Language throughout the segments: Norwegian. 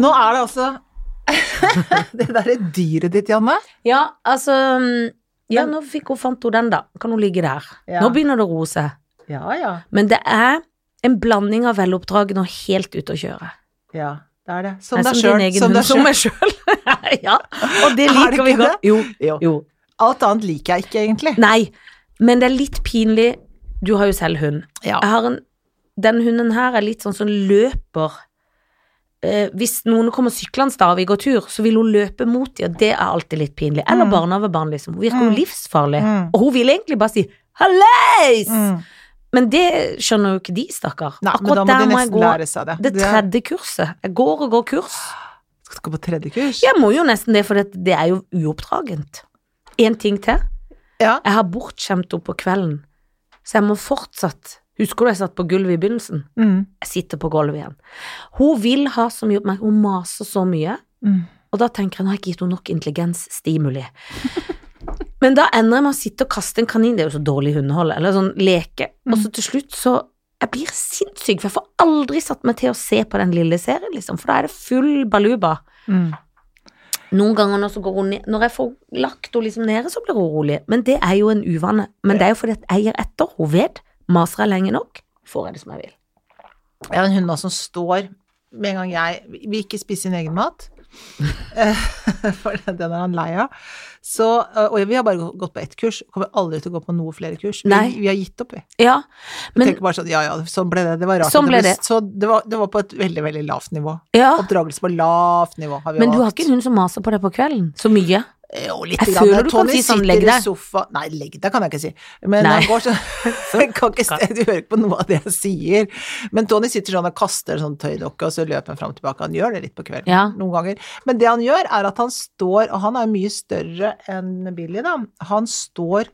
Nå er det altså det derre dyret ditt, Janne. Ja, altså mm, Ja, nå fikk hun, fant hun den, da. Kan hun ligge der. Ja. Nå begynner det å rose. Ja, ja. Men det er en blanding av veloppdragen og helt ute å kjøre. Ja, det er det. Som Nei, deg din sjøl. egen Som hund. deg Som sjøl. meg sjøl. ja. Og det Er det liker vi ikke godt. Jo, Jo. jo. Alt annet liker jeg ikke, egentlig. Nei, men det er litt pinlig. Du har jo selv hund. Ja. Jeg har en, den hunden her er litt sånn som løper. Eh, hvis noen kommer syklende da og vi går tur, så vil hun løpe mot dem, og det er alltid litt pinlig. Eller Mm. barnehagebarn, liksom. Hun virker jo Mm. livsfarlig. Mm. Og hun vil egentlig bare si 'hallais', Mm. men det skjønner jo ikke de, stakkar. Nei, men da Akkurat må der de må jeg nesten gå lære seg det. det tredje kurset. Jeg går og går kurs. Skal du gå på tredje kurs? Jeg må jo nesten det, for det, det er jo uoppdragent. En ting til. Ja. Jeg har bortskjemt henne på kvelden, så jeg må fortsatt Husker du jeg satt på gulvet i begynnelsen? Mm. Jeg sitter på gulvet igjen. Hun vil ha så mye oppmerksomhet, hun maser så mye, Mm. og da tenker jeg nå har jeg ikke gitt henne nok intelligensstimuli. Men da ender jeg med å sitte og kaste en kanin, det er jo så dårlig hundehold, eller sånn leke, og så til slutt så jeg blir sinnssyk, for jeg får aldri satt meg til å se på den lille serien, liksom, for da er det full baluba. Mm. Noen ganger når, så går hun ned, når jeg får lagt henne liksom nede, så blir hun rolig. Men det er jo en uvane. Men det er jo fordi at jeg gir etter. Hun vet. Maser jeg lenge nok, får jeg det som jeg vil. Jeg har en hund nå som står med en gang jeg vil ikke spise sin egen mat. For den er han lei av. Så, eh, og vi har bare gått på ett kurs. Kommer aldri til å gå på noe flere kurs. Vi, Nei. vi har gitt opp, vi. Ja, Vi men tenker bare sånn ja ja, sånn ble det. Det var rart. Sånn at ble ble- det. Så det, var, det var på et veldig, veldig lavt nivå. ja. Oppdragelse på lavt nivå har vi Men du har valgt. ikke en hund som maser på deg på kvelden? Så mye? Jo, litt Jeg grann. føler du kan Tony si sånn, sitter legg i deg. sofa- Nei, legg deg kan jeg ikke si. Men Nei. han går sånn jeg kan ikke se, Du hører ikke på noe av det jeg sier. Men Tony sitter sånn og kaster sånn tøydokke, og så løper han fram og tilbake. Han gjør det litt på kvelden Ja. noen ganger. Men det han gjør, er at han står Og han er mye større enn Billy, da. Han står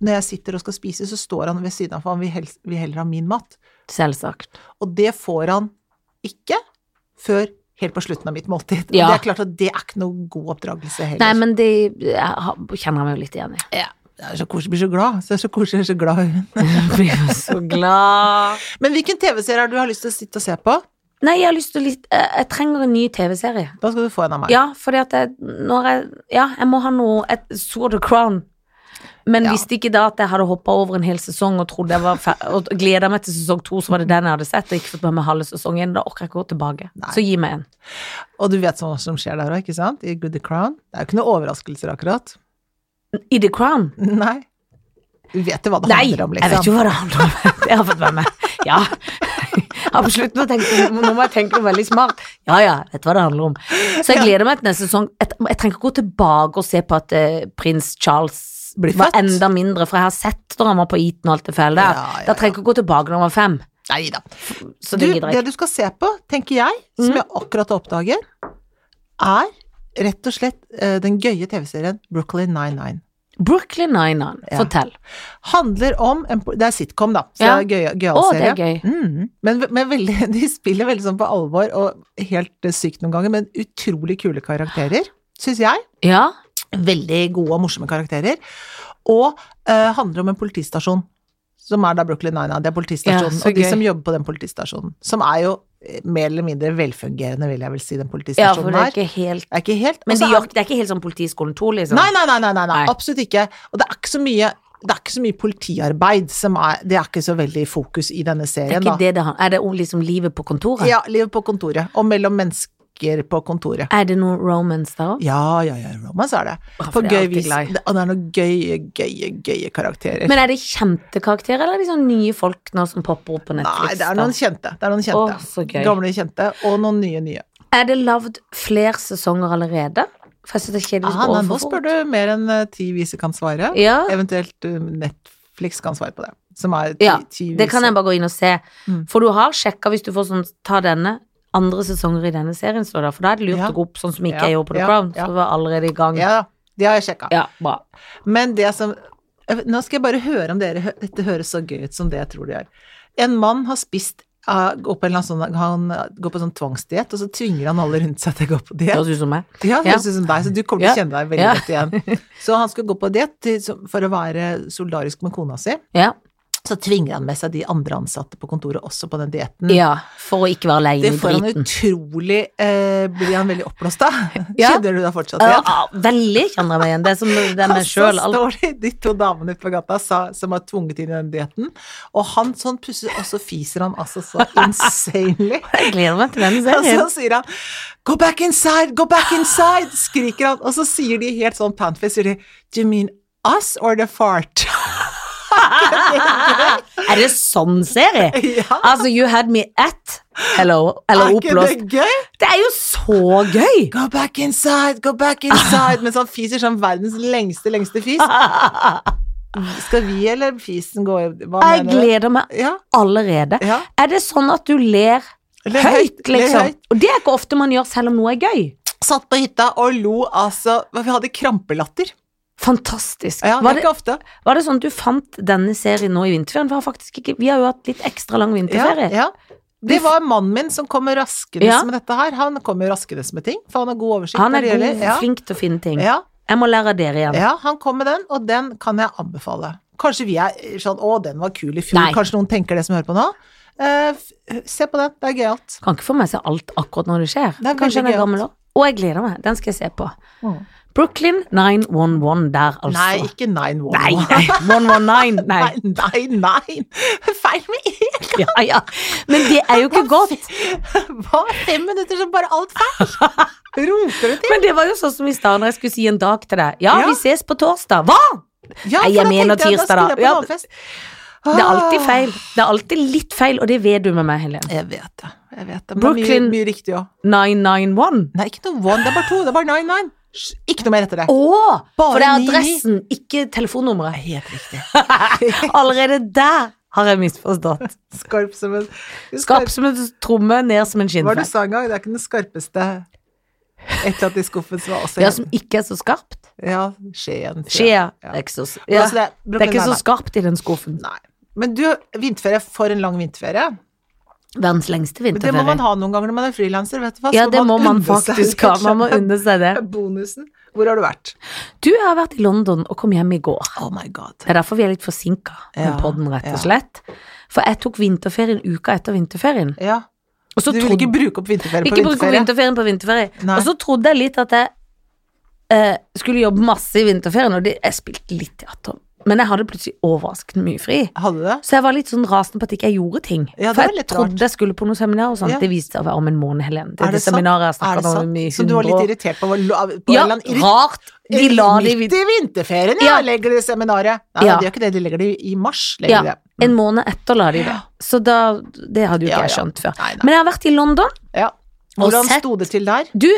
Når jeg sitter og skal spise, så står han ved siden av, for han vil, helst, vil heller ha min mat. Selvsagt. Og det får han ikke før helt på slutten av mitt måltid. Og Ja. det er klart at det er ikke noe god oppdragelse heller. Nei, men det jeg har- kjenner jeg meg jo litt igjen i. Det er så koselig, jeg blir så glad. Så jeg er så koselig, jeg er så glad i hund. Jeg blir jo så glad. Men hvilken TV-serie har du har lyst til å sitte og se på? Nei, jeg har lyst til å litt Jeg jeg trenger en ny TV-serie. Da skal du få en av meg. Ja, fordi at jeg, når jeg Ja, jeg må ha noe et Sword of Crown. Men Ja. visste ikke da at jeg hadde hoppa over en hel sesong og trodde jeg var fer og gleda meg til sesong to, så var det den jeg hadde sett, og ikke fått med meg halve sesongen. Da orker jeg ikke gå tilbake. Nei. Så gi meg en. Og du vet sånn hva som skjer der òg, ikke sant? I Good The Crown. Det er jo ikke noen overraskelser akkurat. I The Crown? Nei. Du vet jo hva det Nei! handler om, Jeg vet liksom. jo hva det handler om. Det har jeg fått med meg. Ja. Absolutt. Nå, tenker, nå må jeg tenke noe veldig smart. Ja ja, jeg vet hva det handler om. Så jeg gleder meg til neste sesong. Jeg, jeg trenger ikke gå tilbake og se på at eh, prins Charles Blir var født. enda mindre, for jeg har sett når han var på Eton og alt det fæle der. Ja, ja, Da trenger jeg ikke gå tilbake når han var fem. Nei da. Så Du, det gidder det jeg ikke. du skal se på, tenker jeg, som Mm. jeg akkurat oppdager, er rett og slett eh, den gøye TV-serien Brooklyn 99. Brooklyn Nine-Nine, Ja. fortell. Handler om en, Det er sitcom, da, så Ja. det er gøy, gøy Å, det er gøy. Mm. Men, men veldig, de spiller veldig sånn på alvor og helt eh, sykt noen ganger, men utrolig kule karakterer, syns jeg. Ja. Veldig gode og morsomme karakterer. Og eh, handler om en politistasjon, som er da Brooklyn Nine-Nine. Det er politistasjonen, Ja, så og de gøy. som jobber på den politistasjonen, som er jo eh, mer eller mindre velfungerende, vil jeg vel si, den ja, for politistasjonen det er her. ikke helt Er ikke helt Men og så de er- gjør, det er ikke helt sånn Politiskolen 2, liksom? Nei, nei, nei, nei, nei, nei, Nei. absolutt ikke. Og det er ikke så mye det er ikke så mye politiarbeid som er Det er ikke så veldig fokus i denne det er serien, ikke da. det det han Er det om liksom livet på kontoret? Ja, livet på kontoret. Og mellom mennesker på kontoret. Er det noe romance der òg? Ja, ja, ja, romance er det. Å, På for det er gøy alltid vis. glad i. Det- Og det er noen gøye, gøye, gøye karakterer. Men er det kjente karakterer, eller er det sånn nye folk nå som popper opp på Netflix? Nei, det er noen da? kjente. Det er noen kjente. Å, så gøy. Gamle kjente, og noen nye nye. Er det lagd flere sesonger allerede? For jeg synes det er kjedelig Ah, å nei, nå overfor spør du mer enn eh, ti viser kan svare. Ja, Eventuelt eh, Netflix kan svare på det. Som er ti, Ja, ti det kan jeg bare gå inn og se. Mm. For du har sjekka, hvis du får sånn ta denne, andre sesonger i denne serien står det, for da er det lurt Ja. å gå opp sånn som ikke Ja, jeg gjorde på The ja, Crown, ja. så vi var allerede i gang. Ja, da. det har jeg sjekka. Ja, bra. Men det som eh, Nå skal jeg bare høre om dere hø- Dette høres så gøy ut som det jeg tror det gjør. En mann har spist eh, går på en eller annen sånn, Han eh, går på sånn tvangsdiett, og så tvinger han alle rundt seg til å gå på Det diett. høres ut som meg. Ja, det Ja. høres ut som deg, så du kommer til å Ja. kjenne deg veldig Ja. godt igjen. Så han skulle gå på diett til- som- for å være solidarisk med kona si, Ja. Så tvinger han med seg de andre ansatte på kontoret også på den dietten. Ja, for å ikke være Mm. Det aleine i får han driten. utrolig eh, Blir han veldig oppblåst av? Ja. Kjenner du da fortsatt Ja, igjen? ja, veldig kjenner jeg meg igjen. Det er som det er meg Og sjøl. så står de, de to damene ute på gata sa, som har tvunget inn i den dietten, og han sånn pusser, og så fiser han altså så insanely. Jeg gleder meg til den Og så serien. sier han 'go back inside, go back inside', skriker han, og så sier de helt sånn pantfest, sier de 'do you mean us or the fart'? Er det sånn serie? ja, Altså, you had me at Hello, eller er ikke det oppblåst. gøy? Det er jo så gøy! Go back inside, go back inside, mens han fiser sånn verdens lengste, lengste fis. Skal vi eller fisen gå i Hva Jeg mener du? gleder meg Ja, allerede. ja. Er det sånn at du ler Le høyt, le liksom? høyt. Og det er ikke ofte man gjør selv om noe er gøy. Satt på hytta og lo altså Vi hadde krampelatter. Fantastisk. Ja, det Var er det, ikke ofte. var det sånn at du fant denne serien nå i vinterferien? Vi har faktisk ikke Vi har jo hatt litt ekstra lang Ja, vinterferie. ja. Det var mannen min som kom raskende Ja. med dette her. Han kommer raskende med ting, for han har god oversikt. Han når er det god, gjelder- ja. flink til å finne ting. Ja, Jeg må lære av dere igjen. ja, han kom med den, og den kan jeg anbefale. Kanskje vi er eh, sånn 'Å, den var kul i fjor'. Nei. Kanskje noen tenker det som hører på nå. Eh, f- se på den, det er gøyalt. Kan ikke få med seg alt akkurat når det skjer. Det er Kanskje veldig den er gøy. gammel òg. Og jeg gleder meg. Den skal jeg se på. Mm. Brooklyn 911 der, altså. Nei, ikke 911. Nei, nei. 119. Nei. Nei, nei, nei. Feil med én! Ja, ja. Men det er jo ikke godt. Hva? Fem minutter som bare alt feil? Roter du til? Men det var jo sånn som i stad når jeg skulle si en dag til deg. Ja, Ja. vi ses på torsdag. Hva? Ja, Nei, for jeg da mener tenkte jeg, tirsdag, skulle da. jeg på Ja. en annen fest. Det er alltid Ah. feil. Det er alltid litt feil, og det vet du med meg, Helen. Jeg vet det. jeg vet det. Men det er Brooklyn- mye, mye riktig òg. 991. Nei, ikke noe one, det er bare to. Det er bare nine nine. Hysj, Ikke noe mer etter det. Å! For Bare det er ni. adressen, ikke telefonnummeret. Helt riktig. Allerede der har jeg misforstått. Skarp som en Skap som en tromme, ned som en Hva var det du skinnfell. sa en gang? Det er ikke den skarpeste Et eller annet i skuffen som var også Ja, som ikke er så skarpt. Ja, Skien. tror jeg. Skje. Ja. Det er ikke så, Men ja. altså, det, det er ikke så skarpt i den skuffen. Nei. Men du, vinterferie, for en lang vinterferie. Verdens lengste Men det må man vinterferie. ha noen ganger når man er frilanser, vet du hva. Ja, Så det må man unne Altså, seg faktisk litt ha. Man må sånn unne seg det. Bonusen. Hvor har du vært? Du jeg har vært i London og kom hjem i går. Oh my god. Det er derfor vi er litt forsinka med Ja, podden, rett ja. og slett. For jeg tok vinterferien uka etter vinterferien. Ja. Og så Du vil trodde- ikke bruke opp vinterferie på Ikke bruke vinterferie? vinterferien på vinterferie. Nei. Og så trodde jeg litt at jeg eh, skulle jobbe masse i vinterferien, og det, jeg spilte litt teater. Men jeg hadde plutselig overraskende mye fri. Hadde du det? Så jeg var litt sånn rasende på at ikke jeg gjorde ting. Ja, det For var jeg litt trodde rart. jeg skulle på noe seminar og sånt. Ja. Det viste seg å være om en måned, Helen. Det Er er det, det sant? seminaret Er jeg det snakket om sant? i Så du var litt 100 år. irritert på, på, på en Ja, eller annen irri- rart. De la det i Midt i vinterferien, ja, Ja. legger de seminaret. Nei, Ja. de gjør ikke det, de legger det i- i mars. Ja, Legger de det. en måned etter la de det. Ja. Så da, det hadde jo Ja, ikke jeg ja. skjønt før. Nei, nei. Men jeg har vært i London. Ja. Og Hvordan sett- sto det til der? Du,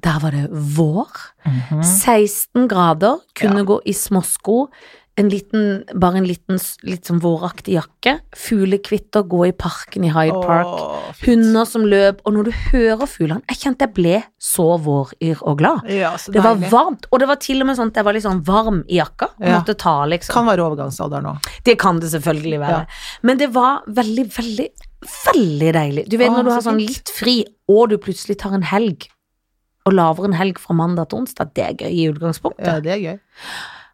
der var det vår. Mhm. 16 grader, kunne Mm. Ja. gå i småsko. En liten, bare en liten, s- litt sånn våraktig jakke. Fuglekvitter, gå i parken i Hyde Park. Åh, fint. Hunder som løp. Og når du hører fuglene Jeg kjente jeg ble så våryr og glad. Ja, så Det var deilig. varmt, og det var til og med sånn at jeg var litt sånn varm i jakka. og Ja. Måtte ta, liksom. Kan være overgangsalder nå. Det kan det selvfølgelig være. Men det var veldig, veldig, veldig deilig. Du vet Å, når du så har sånn fint. litt fri, og du plutselig tar en helg, og laver en helg fra mandag til onsdag, det er gøy i utgangspunktet. Ja, det er gøy.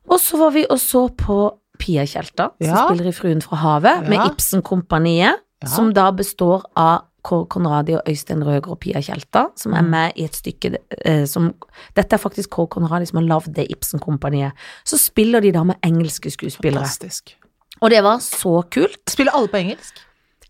Og så var vi og så på Pia Tjelta, som Ja. spiller i Fruen fra havet, Ja. med Ibsen-kompaniet, Ja. som da består av Kåre Conradi og Øystein Røger og Pia Tjelta, som er Mm. med i et stykke eh, som Dette er faktisk Kåre Conradi som har lagd det Ibsen-kompaniet. Så spiller de da med engelske skuespillere. Fantastisk. Og det var så kult. Spiller alle på engelsk?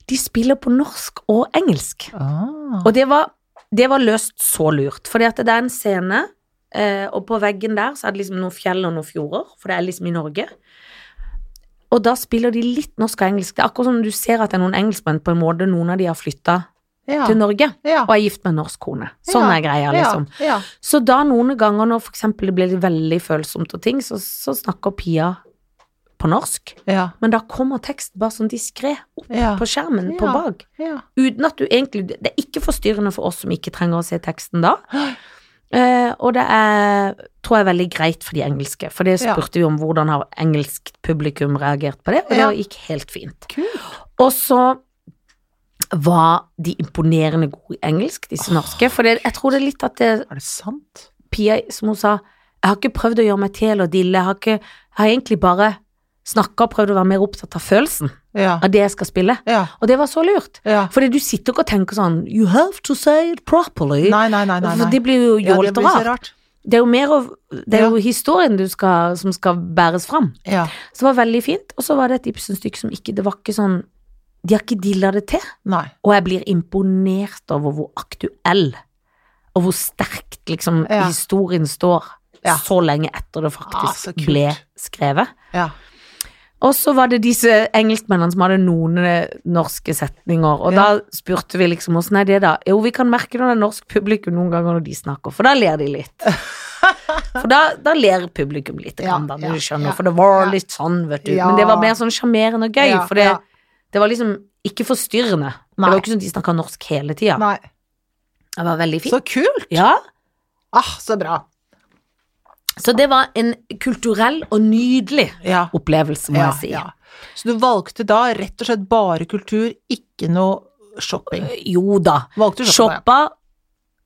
De spiller på norsk og engelsk. Ah. Og det var, det var løst så lurt. Fordi at det er en scene, eh, og på veggen der så er det liksom noen fjell og noen fjorder, for det er liksom i Norge. Og da spiller de litt norsk og engelsk. Det er akkurat som du ser at det er noen engelskmenn på en måte, noen av de har flytta ja. til Norge ja. og er gift med en norsk kone. Sånn Ja, er greia, liksom. Ja. ja. Så da noen ganger når for eksempel det blir veldig følsomt og ting, så, så snakker Pia på norsk. Ja. Men da kommer teksten bare sånn diskré opp Ja. på skjermen på Ja. bak. ja. Uten at du egentlig Det er ikke forstyrrende for oss som ikke trenger å se teksten da. Eh, og det er, tror jeg, veldig greit for de engelske. For det Ja. spurte vi om hvordan har engelsk publikum reagert på det, og Ja. det gikk helt fint. Kult. Og så var de imponerende gode i engelsk, disse norske. For det, jeg tror det er litt at det, Er det sant? Pia, som hun sa, jeg har ikke prøvd å gjøre meg til eller dille, jeg har, ikke, jeg har egentlig bare snakka og prøvde å være mer opptatt av følelsen Ja. av det jeg skal spille. Ja. Og det var så lurt. ja. Fordi du sitter ikke og tenker sånn You have to say it properly. Nei, nei, nei. nei, For nei. det blir jo Ja, det jålete blir så rart. rart. Det er jo mer av Det er jo historien du skal, som skal bæres fram. Ja. Så det var veldig fint. Og så var det et Ibsen-stykke som ikke Det var ikke sånn De har ikke dilla det til. Nei. Og jeg blir imponert over hvor aktuell og hvor sterkt liksom Ja. historien står Ja. så lenge etter det Ah, faktisk så kult. ble skrevet. Ja. Og så var det disse engelskmennene som hadde noen eh, norske setninger, og Ja. da spurte vi liksom åssen er det da? Jo, vi kan merke når det er norsk publikum noen ganger når de snakker, for da ler de litt. For da, da ler publikum litt, Ja, grann, da, ja, når du skjønner, ja, for det var ja. litt sånn, vet du. Ja. Men det var mer sånn sjarmerende og gøy, Ja, for det, ja. det var liksom ikke forstyrrende. Nei. Det var ikke sånn at de snakka norsk hele tida. Nei. Det var veldig fint. Så kult! ja. Ah, så bra. så det var en kulturell og nydelig Ja. opplevelse, må ja, jeg si. ja. Så du valgte da rett og slett bare kultur, ikke noe shopping? Jo da. Valgte du shopping? Shoppa,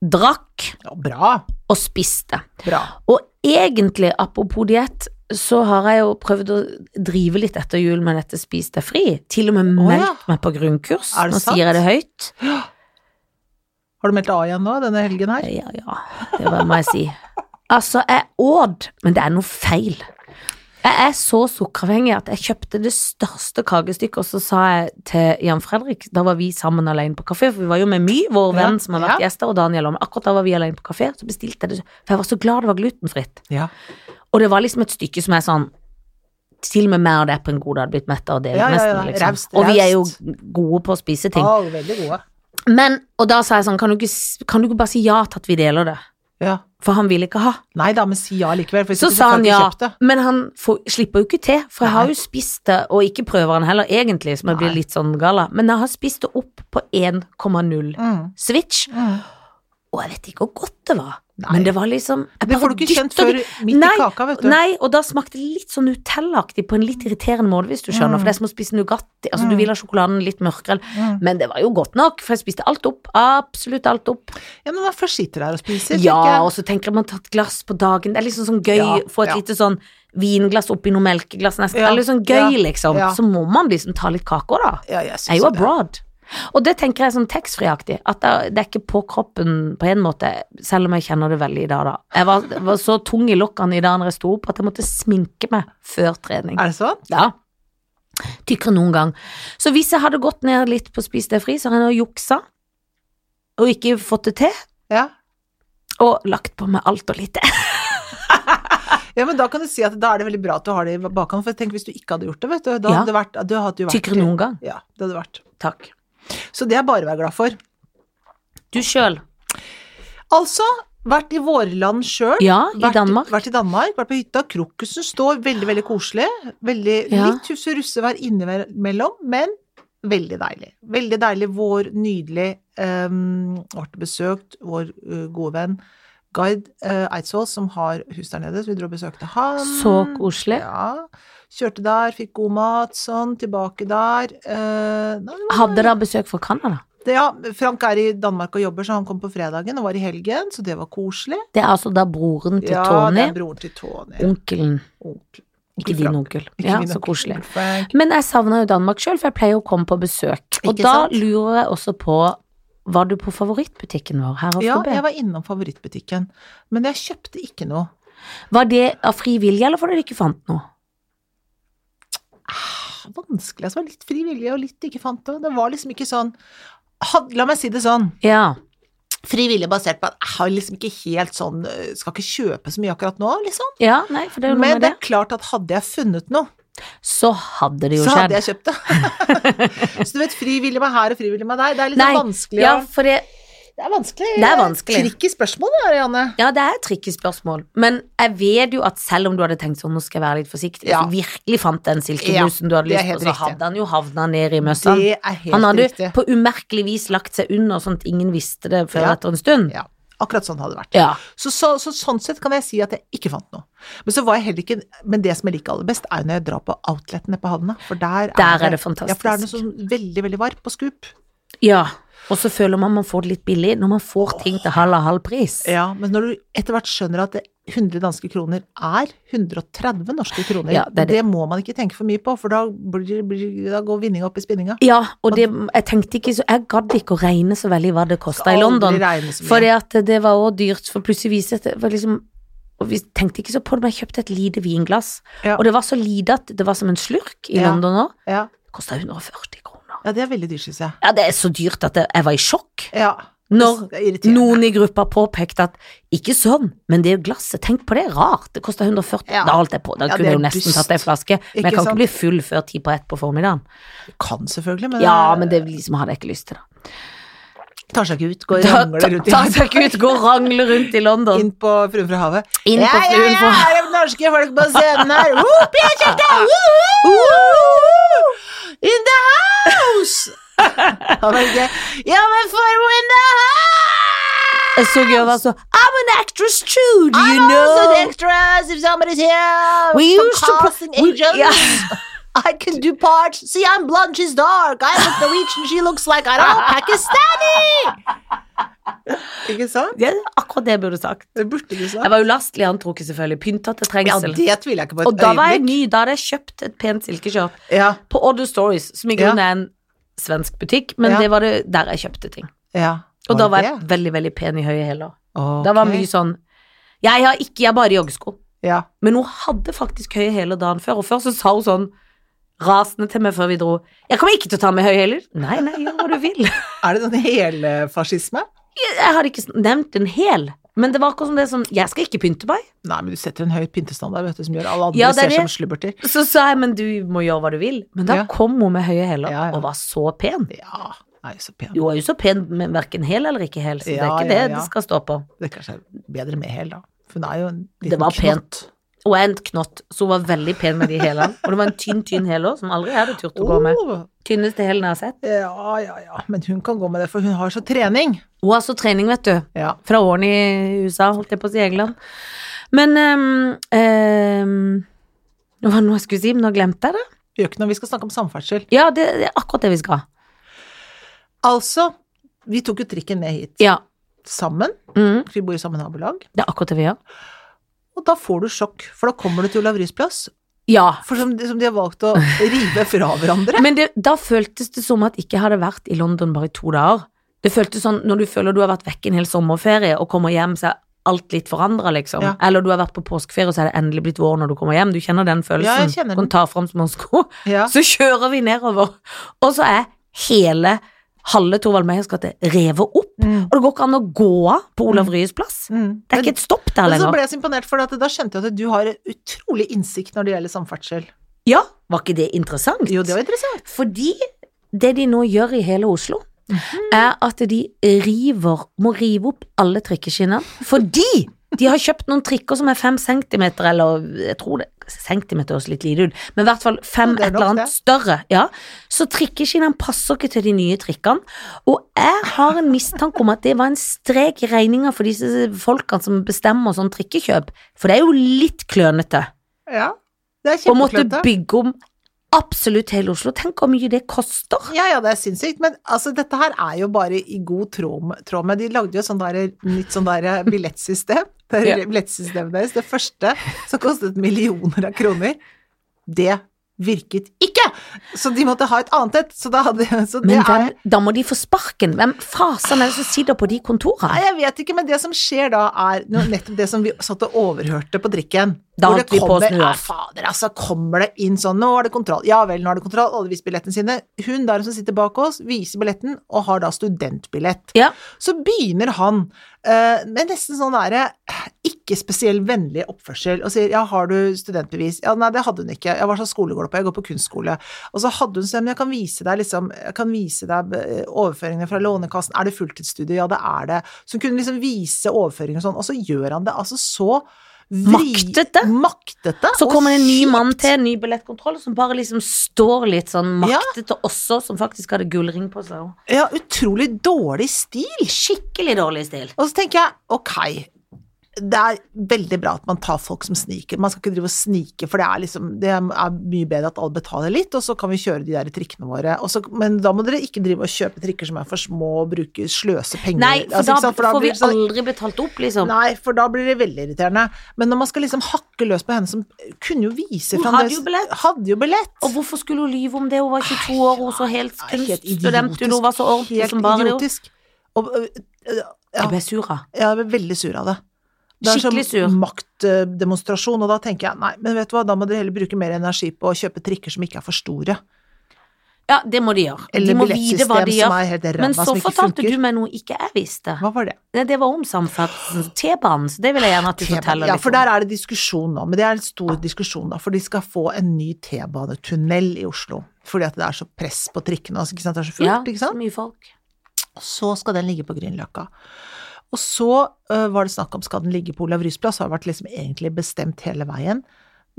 drakk Ja, bra. og spiste. Bra. Og egentlig, apropos diett, så har jeg jo prøvd å drive litt etter jul med dette spis deg fri. Til og med Å, ja. meldt meg på grunnkurs. Er det Nå sant? sier jeg det høyt. Har du meldt deg av igjen nå, denne helgen her? Ja, ja, det var, må jeg si. Altså, jeg åd, men det er noe feil. Jeg er så sukkeravhengig at jeg kjøpte det største kakestykket, og så sa jeg til Jan Fredrik, da var vi sammen alene på kafé, for vi var jo med My, vår Ja, venn som har vært ja. gjester, og Daniel og meg. Akkurat da var vi alene på kafé, så bestilte jeg det, for jeg var så glad det var glutenfritt. Ja. Og det var liksom et stykke som er sånn til og med meg og deg på en god dag hadde blitt mett av det. Ja, ja, ja. nesten, liksom. Raust, Og vi er jo raust. Ah. gode på å spise ting. Å, veldig gode. Men, og da sa jeg sånn, kan du, ikke, s- kan du ikke bare si ja til at vi deler det? Ja. For han vil ikke ha. Nei da, men si ja likevel. For hvis Så ikke, sa får han du ikke ja, kjøpt det. men han får, slipper jo ikke til, for jeg Nei. har jo spist det, og ikke prøver han heller egentlig, som jeg blir Nei. litt sånn gala, men jeg har spist det opp på 1,0 Mm. switch, Mm. og jeg vet ikke hvor godt det var, Nei. men det var liksom jeg Det får bare du ikke kjent dytter før det- midt Nei, i kaka, vet du. Nei, og da smakte det litt sånn Nutella-aktig på en litt irriterende måte, hvis du Mm. skjønner, for det er som å spise Nugatti, altså du Mm. vil ha sjokoladen litt mørkere, Mm. men det var jo godt nok, for jeg spiste alt opp, absolutt alt opp. Ja, men man først sitter der og spiser, Ja, og tenker jeg. så tenker jeg man tar et glass på dagen. Det er liksom sånn gøy. Ja, Få et ja. lite sånn vinglass oppi noe melkeglass nesten. Ja, Eller sånn gøy, ja, liksom. ja. Så må man liksom ta litt kake òg, da. Ja, jeg syns Jeg er jo jo det. abroad. Og det tenker jeg er sånn taxfree-aktig. At det det er ikke på kroppen på en måte, selv om jeg kjenner det veldig i dag, da. Jeg var, var så tung i lokkene i dag når jeg sto opp at jeg måtte sminke meg før trening. Er det sånn? Ja. Tykkere enn noen gang. Så hvis jeg hadde gått ned litt på Spis deg fri, så hadde jeg nå juksa og ikke fått det til. Ja. Og lagt på meg alt og lite. ja, men da kan du si at da er det veldig bra at du har det i bakhånd, for tenk hvis du ikke hadde gjort det, vet du. Da Ja. hadde det vært, du hadde jo vært Tykkere enn noen gang. Ja, det hadde vært. Takk. Så det er bare å være glad for. Du sjøl? Altså, vært i vårland sjøl. Ja, i vært, Danmark. Vært i Danmark, vært på hytta. Krokusen står veldig, veldig koselig. Veldig, Ja. Litt hufserussevær innimellom, men veldig deilig. Veldig deilig. Vår nydelig um, ble besøkt, vår eh, gode venn guide eh, Eidsvoll, som har hus der nede, så vi dro og besøkte han. Så koselig. Ja. Kjørte der, fikk god mat, sånn, tilbake der. Eh, nei, det var- Hadde dere besøk fra Canada? det, ja, Frank er i Danmark og jobber, så han kom på fredagen og var i helgen, så det var koselig. Det er altså da broren til ja, det Tony. er broren til Tony. Onkelen. Onkel. Ikke Onkel din Frank. onkel. Ikke Ja, min så onkel, koselig. onkel Frank. Men jeg savna jo Danmark sjøl, for jeg pleier å komme på besøk. Og Ikke da sant? lurer jeg også på Var du på favorittbutikken vår her? Ja, Afrobe? jeg var innom favorittbutikken, men jeg kjøpte ikke noe. Var det av fri vilje, eller fordi du ikke fant noe? Ah, Vanskelig. Altså, det var litt fri vilje og litt ikke fant det. Det var liksom ikke sånn Had- La meg si det sånn. Ja. Fri vilje basert på at jeg har liksom ikke helt sånn øh, Skal ikke kjøpe så mye akkurat nå, liksom. ja, nei, for det er jo noe Men med det det. er klart at hadde jeg funnet noe, Så hadde det jo så hadde skjedd. jeg kjøpt det. så du vet, fri vilje med her og fri vilje med der, det er litt Nei, sånn vanskelig. Ja, å- for det Det er vanskelig. Det er vanskelig. Tricky spørsmål, det der, Janne. Ja, det er et tricky spørsmål, men jeg vet jo at selv om du hadde tenkt sånn, nå skal jeg være litt forsiktig, Ja. hvis du virkelig fant den silkeblusen du hadde det er lyst på, helt så riktig. hadde han jo havna ned i møssa. Det er helt Sånn. Han hadde riktig. på umerkelig vis lagt seg under sånn at ingen visste det før Ja. etter en stund. Ja, akkurat sånn hadde det vært. Ja. Så, så, så sånn sett kan jeg si at jeg ikke fant noe. Men så var jeg heller ikke Men det som jeg liker aller best, er jo når jeg drar på outletene på havna, for der, Der er det fantastisk. Ja, for da er det sånn veldig, veldig varmt på skup. ja. Og så føler man man får det litt billig når man får ting til halv og halv pris. Ja, men når du etter hvert skjønner at det 100 danske kroner er 130 norske kroner. Ja, det det, er det. må man ikke tenke for mye på, for da, blir, blir, da går vinninga opp i spinninga. Ja, og det, jeg tenkte ikke så Jeg gadd ikke å regne så veldig hva det kosta i London. For det, at det var også dyrt, for plutselig viste det var liksom og Vi tenkte ikke så på det, men jeg kjøpte et lite vinglass. Ja. Og det var så lite at det var som en slurk i Ja. London òg. ja. Det kosta 140 kroner. ja, det er veldig dyrt, syns jeg. Ja, det er så dyrt at jeg, jeg var i sjokk. Ja. Når Det er irriterende. noen i gruppa påpekte at ikke sånn, men det glasset, tenk på det, rart, det kosta 140, Ja. da holdt jeg på, da Ja, det kunne jeg er jo nesten dust. tatt ei flaske, men Ikke jeg kan sant? ikke bli full før ti på ett på formiddagen. Kan selvfølgelig, men, Ja, men det liksom hadde jeg ikke lyst til, da. tar seg ikke ut. Går og Ta, rangler ta, rundt i ta sånn- seg ikke ut, gå og rangle rundt i London. Inn på Fruen fra havet. Inn på Fruen Ja, fra ja, ja, er det norske folk på scenen her. Whoop, jeg kjøpte! Woo, woo, woo, woo. In the house! Han var ikke Ja, men for in the house! Jeg så jeg var så I'm an actress too, do you I'm also the know? extras if somebody's here. We Some used to pro- casting we- agents. yeah. I can do parts. See, I'm blonde, she's dark. I look Norwegian, she looks like, I don't know, Pakistani! Ikke sant? Det er akkurat det jeg burde sagt. Det burde du sagt. Jeg var ulastelig antrukket, selvfølgelig. Pynta til Ja, trengsel. det tviler jeg ikke på et Og da var jeg øyeblikk. ny, da hadde jeg kjøpt et pent silkeskjørt. Ja, på Oddo Stories, som i Ja. grunnen er en svensk butikk, men Ja. det var det der jeg kjøpte ting. ja. Og da var det jeg veldig, veldig pen i høye hæler. Ok. Da var mye sånn Jeg har ikke, jeg har bare joggesko. Ja. Men hun hadde faktisk høye hæler dagen før, og før så sa hun sånn rasende til meg før vi dro 'Jeg kommer ikke til å ta med høye hæler'. Nei, nei, gjør hva du vil. Er det sånn helfascisme? Jeg hadde ikke nevnt en hæl, men det var akkurat som det som Jeg skal ikke pynte meg. Nei, men du setter en høy pyntestandard, vet du, som gjør alle andre Ja, det er ser det. som slubberter. Så sa jeg 'men du må gjøre hva du vil'. Men da Ja. kom hun med høye hæler Ja, ja. og var så pen. Ja, nei, så pen. Du er jo så pen med verken hæl eller ikke hæl, så det er Ja, ikke ja, det ja. det skal stå på. Det er kanskje bedre med hæl, da. For hun er jo en liten Det var knott. pent. Og en knott, så hun var veldig pen med de hælene. Og det var en tynn, tynn hæl òg, som aldri jeg hadde turt å gå med. Åh, Oh. Tynneste hælen jeg har sett. Oh, ja, ja, ja. Men hun kan gå med det, for hun har så trening. Hun har så trening, vet du. Ja. Fra årene i USA, holdt jeg på å si England. Men ehm, ehm, Det var noe jeg skulle si, men nå glemte jeg det. Gjør ikke noe, vi skal snakke om samferdsel. Ja, det, det er akkurat det vi skal. Altså, vi tok jo trikken ned hit Ja. sammen. Mm, for Vi bor i samme nabolag. det er akkurat det vi gjør. Og da får du sjokk, for da kommer du til Olav Ryes plass. Ja. For som de, som de har valgt å rive fra hverandre. Men det, da føltes det som at jeg ikke hadde vært i London bare i to dager. Det føltes sånn når du føler du har vært vekk en hel sommerferie og kommer hjem, så er alt litt forandra, liksom. Ja. Eller du har vært på påskeferie, og så er det endelig blitt vår når du kommer hjem. Du kjenner den følelsen. Ja, jeg kjenner den. Når du tar fram små sko, Ja. så kjører vi nedover, og så er hele halve Torvald Meyers gate revet opp. Mm. Og det går ikke an å gå av på Olav Ryes plass. Mm. Det er ikke et stopp der Men så lenger. ble jeg så imponert, for at da skjønte jeg at du har utrolig innsikt når det gjelder samferdsel. Ja, var ikke det interessant? Jo, det var interessant. Fordi det de nå gjør i hele Oslo, Mhm. er at de river, må rive opp alle trikkeskinner. Fordi de har kjøpt noen trikker som er fem centimeter, eller jeg tror det Centimeter høres litt lite ut, men i hvert fall fem Ja, det er et eller nok annet det. større. Ja. Så trikkeskinnene passer ikke til de nye trikkene. Og jeg har en mistanke om at det var en strek i regninga for disse folkene som bestemmer sånn trikkekjøp, for det er jo litt klønete. Ja. Det er Å måtte kjempeklønete. bygge om absolutt hele Oslo. Tenk hvor mye det koster. Ja, ja, det er sinnssykt, men altså, dette her er jo bare i god tråd med, tråd med De lagde jo et sånn der, nytt sånn der billettsystem. Det er Ja. billettsystemet deres. Det første som kostet millioner av kroner, det virket ikke! Så de måtte ha et annet et. Så da hadde så det Men er, hvem, da må de få sparken. Hvem fasen er det som sitter på de Nei, kontorene? jeg vet ikke, men det som skjer da, er no- nettopp det som vi satt og overhørte på drikken. Da Hvor holdt det vi på å kommer- snu oss. Ja, fader, altså, kommer det inn sånn, nå er det kontroll. Ja vel, nå er det kontroll. Alle viser billettene sine. Hun der som sitter bak oss, viser billetten, og har da studentbillett. Ja. Så begynner han eh, med nesten sånn derre ikke spesiell vennlig oppførsel og sier ja, har du studentbevis? Ja, nei, det hadde hun ikke. Jeg var sånn skole går det på, jeg går på kunstskole. Og så hadde hun sånn, men jeg kan vise deg liksom, jeg kan vise deg eh, overføringene fra Lånekassen. Er det fulltidsstudie? Ja, det er det. Så hun kunne liksom vise overføringer og sånn, og så gjør han det altså så vri- Maktete. Maktete. Så og kommer det en ny kjipt. mann til, en ny billettkontroll, som bare liksom står litt sånn Ja. maktete også, som faktisk hadde gullring på seg. Ja, utrolig dårlig stil. Skikkelig dårlig stil. Og så tenker jeg, ok, det er veldig bra at man tar folk som sniker. Man skal ikke drive og snike, for det er, liksom, det er mye bedre at alle betaler litt, og så kan vi kjøre de der trikkene våre. Og så- men da må dere ikke drive og kjøpe trikker som er for små og bruke sløse penger. Nei, for Altså, da ikke sant? For da får blir vi det sånn- aldri betalt opp, liksom. Nei, for da blir det veldig irriterende. Men når man skal liksom hakke løs på henne som kunne jo vise Hun fremdeles- hadde jo billett. Hadde jo billett. Og hvorfor skulle hun lyve om det? Hun var 22 år, hun så helt Nei, helt kunststudent ut, hun var så ordentlig helt som bare det. idiotisk. Og, øh, øh, ja. Jeg ble sur av. Jeg ble veldig sur av det. Det er Skikkelig sur. som maktdemonstrasjon, og da tenker jeg nei, men vet du hva, da må dere heller bruke mer energi på å kjøpe trikker som ikke er for store. Ja, det må de gjøre. De Eller må vite billettsystem hva de som gjør. er helt ræva, Men så som ikke fortalte funker. du meg noe ikke jeg visste. Hva var det? Nei, det var om samferdsel. T-banen, så det vil jeg gjerne at du forteller Ja, litt for om. der er det diskusjon nå, men det er en stor diskusjon da, for de skal få en ny T-banetunnel i Oslo. Fordi at det er så press på trikkene, altså, ikke sant, det er så fullt, Ja, ikke så sant? mye folk. Så skal den ligge på Grünerløkka. Og så øh, var det snakk om skal den ligge på Olav Ryes plass, har vært liksom egentlig bestemt hele veien.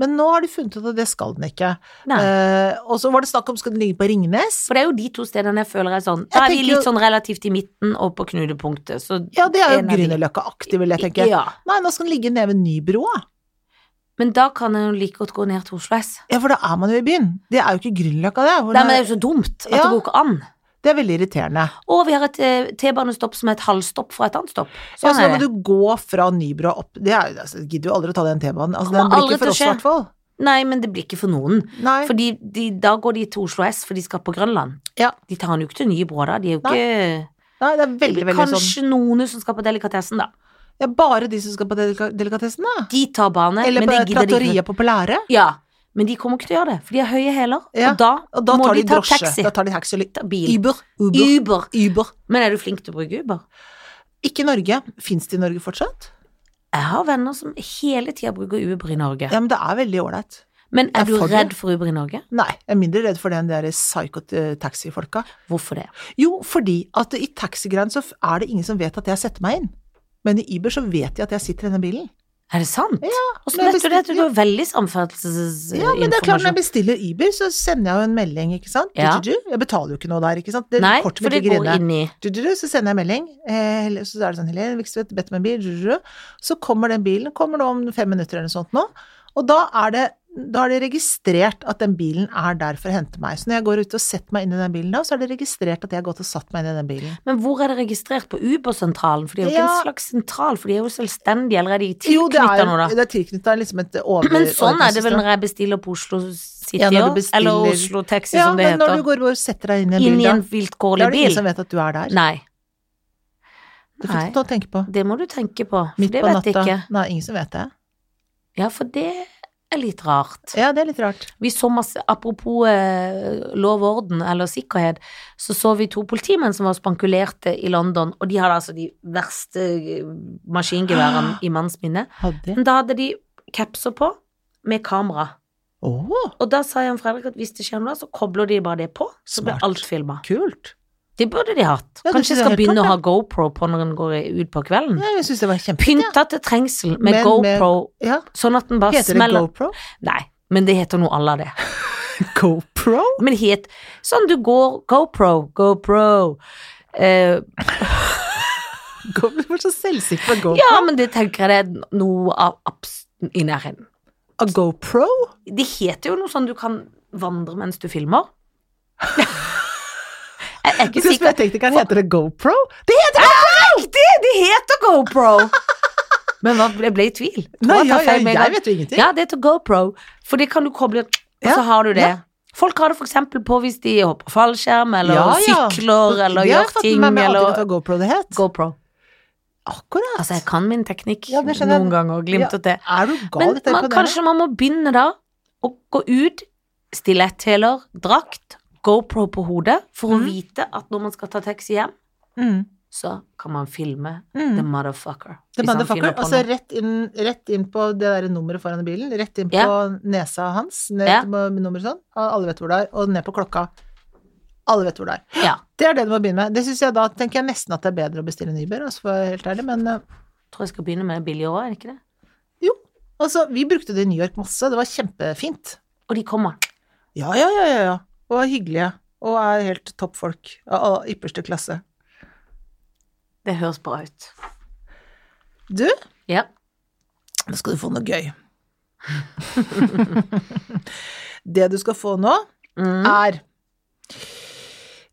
Men nå har de funnet ut at det skal den ikke. Nei. Eh, og så var det snakk om skal den ligge på Ringnes. For det er jo de to stedene jeg føler er sånn. Jeg Da er vi tenker litt jo- sånn relativt i midten og på knutepunktet, så Ja, det er jo En av de- Grünerløkka-aktig, vil jeg tenke. Ja. Nei, nå skal den ligge nede ved Nybroa. Men da kan jeg jo like godt gå ned til Oslo S. Ja, for da er man jo i byen. Det er jo ikke Grünerløkka, det. Hvor Nei, men det, det er jo så dumt at Ja. det går ikke an. er- det er veldig irriterende. Og vi har et eh, T-banestopp som er et halvstopp fra et annet stopp. Ja, Sånn så da er må det. du gå fra Nybroa opp Det er, altså, gidder jo aldri å ta den T-banen. Altså, den Kommer blir aldri ikke for til å oss, i skje. hvert fall. Nei, men det blir ikke for noen. Nei. Fordi de, da går de til Oslo S, for de skal på Grønland. Ja. De tar han jo ikke til Nybro da, de er jo Nei. ikke Nei, det er veldig, veldig sånn. Kanskje noen som skal på delikatessen, da. Ja, bare de som skal på delika- delikatessen, da. De tar bane, Eller men på det gidder de ikke. Trattoria på Polære. Ja, men de kommer ikke til å gjøre det, for de har høye hæler, Ja, og da, Og da må tar de de ta drosje. taxi. Da tar de taxi. eller Ta bil. Uber. Uber. Uber. Uber. Men er du flink til å bruke Uber? Ikke i Norge. Fins det i Norge fortsatt? Jeg har venner som hele tida bruker Uber i Norge. Ja, men det er veldig ålreit. Men er Jeg du får det. redd for Uber i Norge? Nei, jeg er mindre redd for det enn de der psycho-taxi-folka. Hvorfor det? Jo, fordi at i taxigreiene så f- er det ingen som vet at jeg setter meg inn. Men i Uber så vet de at jeg sitter i denne bilen. Er det sant? Ja, Åssen men vet du det? bestilt- Du har veldig Ja, men det er klart når jeg samferdselsinformasjon. bestiller Uber, så sender jeg jo en melding, ikke sant? Ja. Du-du-du. Jeg betaler jo ikke noe der, ikke sant? Det Nei, kortet for mitt det ligger går inne. inn i Du-du-du, så sender jeg melding, eh, Hel- så er det sånn Helene Vikstvedt bedt om en bil, du-du-du. så kommer den bilen, kommer nå om fem minutter eller noe sånt nå, og da er det da er det registrert at den bilen er der for å hente meg. Så når jeg går ut og setter meg inn i den bilen da, så er det registrert at jeg har gått og satt meg inn i den bilen. Men hvor er det registrert? På Uber-sentralen? For det er jo ikke Ja. en slags sentral, for de er jo selvstendige, eller er de Jo, det er, tilknytta nå, da? det er tilknyttet liksom et over... Men sånn er det vel overgangssystem. når jeg bestiller på Oslo City Ja, når du også, bestiller- eller Oslo Taxi, Ja, som det men når du heter. går og setter deg inn i en Inn bil i da, en da vilkårlig er det bil. ingen som vet at du er der. Nei, Det fikk nei. du til å tenke på. det må du tenke på, for Midt det på vet jeg natta. ikke. Nei, ingen som vet det. Ja, for det er litt rart. Ja, det er litt rart. Vi så masse, apropos eh, lov og orden eller sikkerhet, så så vi to politimenn som var spankulerte i London, og de hadde altså de verste eh, maskingeværene i manns minne. Hadde de? Men da hadde de capser på med kamera. Åh, Og da sa Jan Fredrik at hvis det skjer noe, så kobler de bare det på, så blir Smart. alt filma. kult. Det burde de hatt. Ja, det Kanskje synes jeg jeg skal helt begynne klart, å ha GoPro på når den går ut på kvelden. Nei, jeg synes det var kjempefint. Pynta til trengsel med Men med- GoPro, Ja. sånn at den bare Heter det smeller GoPro? Nei, men det heter noe à la det. GoPro? Men het Sånn du går GoPro, GoPro. Eh, Go du var så selvsikker på GoPro. ja, men det tenker jeg det er noe av abs i nærheten. A GoPro? Det heter jo noe sånn du kan vandre mens du filmer. jeg er Skal ikke sikker. spørre teknikeren, heter det GoPro? Det Riktig! Det heter GoPro! Men hva, jeg ble i tvil. heter Tror Nei, jeg ja, tar ja, feil med en gang. jeg vet jo ingenting. Ja, det heter GoPro, for det kan du koble, og Ja, så har du det. ja. Folk har det for eksempel på hvis de hopper fallskjerm, eller Ja, ja. sykler, eller Det har gjør jeg fått ting, med meg alltid eller at det var GoPro det het. GoPro. Akkurat. Altså, jeg kan min teknikk Ja, det skjønner jeg. noen ganger, glimt og det. Er du gal? Men Dette er man, imponerende. kanskje man må begynne da, å gå ut, stiletthæler, drakt, GoPro på hodet, for å Mhm. vite at når man skal ta taxi hjem, Mm, så kan man filme mm. the motherfucker. The hvis han motherfucker. filmer liksom på Altså noe. rett inn, rett inn på det der nummeret foran bilen. Rett inn på Ja. nesa hans. Ned Ja. på nummeret sånn. og Alle vet hvor det er. Og ned på klokka. Alle vet hvor det er. Ja, Det er det du må begynne med. Det synes jeg da tenker jeg nesten at det er bedre å bestille en Uber, altså for å være helt ærlig, men eh, tror jeg skal begynne med billigere også, er det ikke det? altså, vi brukte det i New York masse. Det var kjempefint. Og de kommer. Ja, ja, ja, ja. ja. Og er hyggelige. Og er helt topp folk. Av av ypperste klasse. Det høres bra ut. Du, Ja. Nå skal du få noe gøy. det du skal få nå, Mm. er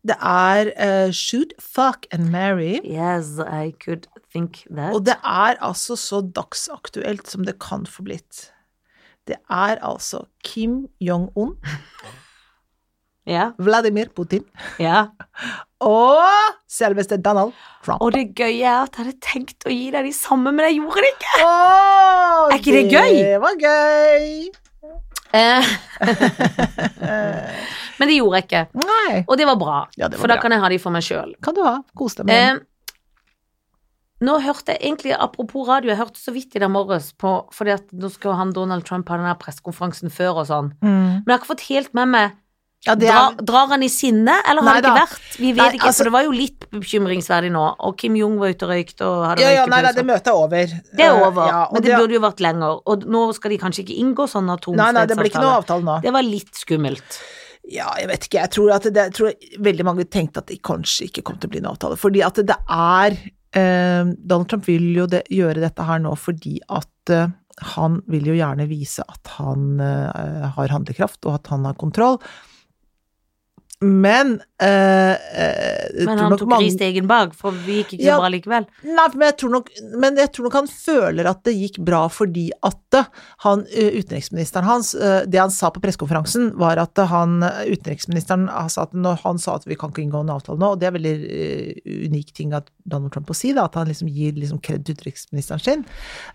Det er eh, Shoot, Fuck and Marry. Yes, I could think that. Og det er altså så dagsaktuelt som det kan få blitt. Det er altså Kim Jong-un, Ja, Vladimir Putin ja. og selveste Donald Trump. Og det gøye er at jeg hadde tenkt å gi deg de samme, men jeg gjorde det ikke. Åh, Er ikke det gøy? Det var gøy. Eh, Eh, men det gjorde jeg ikke. nei. Og det var bra, Ja, det var for da bra. kan jeg ha de for meg sjøl. Kan du ha. Kos deg med den. Eh, nå hørte jeg egentlig, apropos radio, jeg hørte så vidt i dag morges på Fordi at nå skal han Donald Trump ha den her pressekonferansen før og sånn. Mm. Men jeg har ikke fått helt med meg Ja, det Dra, er, Drar han i sinne, eller har Nei han ikke da. vært? Vi vet Nei, ikke, altså- for det var jo litt bekymringsverdig nå. Og Kim Jong var ute og røykte og hadde ja, ja, røykepølse. nei, nei, det møtet er over. Det er over, Eh, ja, og men det burde jo vært lenger. Og nå skal de kanskje ikke inngå sånn Nei, nei, det blir ikke noe atomfredsavtale. avtale nå. Det var litt skummelt. Ja, jeg vet ikke. Jeg tror at det, jeg tror veldig mange tenkte at det kanskje ikke kom til å bli en avtale. Fordi at det er eh, Donald Trump vil jo det, gjøre dette her nå fordi at eh, han vil jo gjerne vise at han eh, har handlekraft, og at han har kontroll. Men eh, eh, jeg Men tror han nok tok mange- rist egen bag, for vi gikk ikke Ja. så bra likevel. Nei, men jeg, tror nok, men jeg tror nok han føler at det gikk bra fordi at eh, han, eh, utenriksministeren hans eh, Det han sa på pressekonferansen, var at eh, han, eh, utenriksministeren eh, sa at når han sa at vi kan ikke inngå en avtale nå, og det er veldig eh, unik ting at Donald Trump å si, da, at han liksom gir liksom kred til utenriksministeren sin.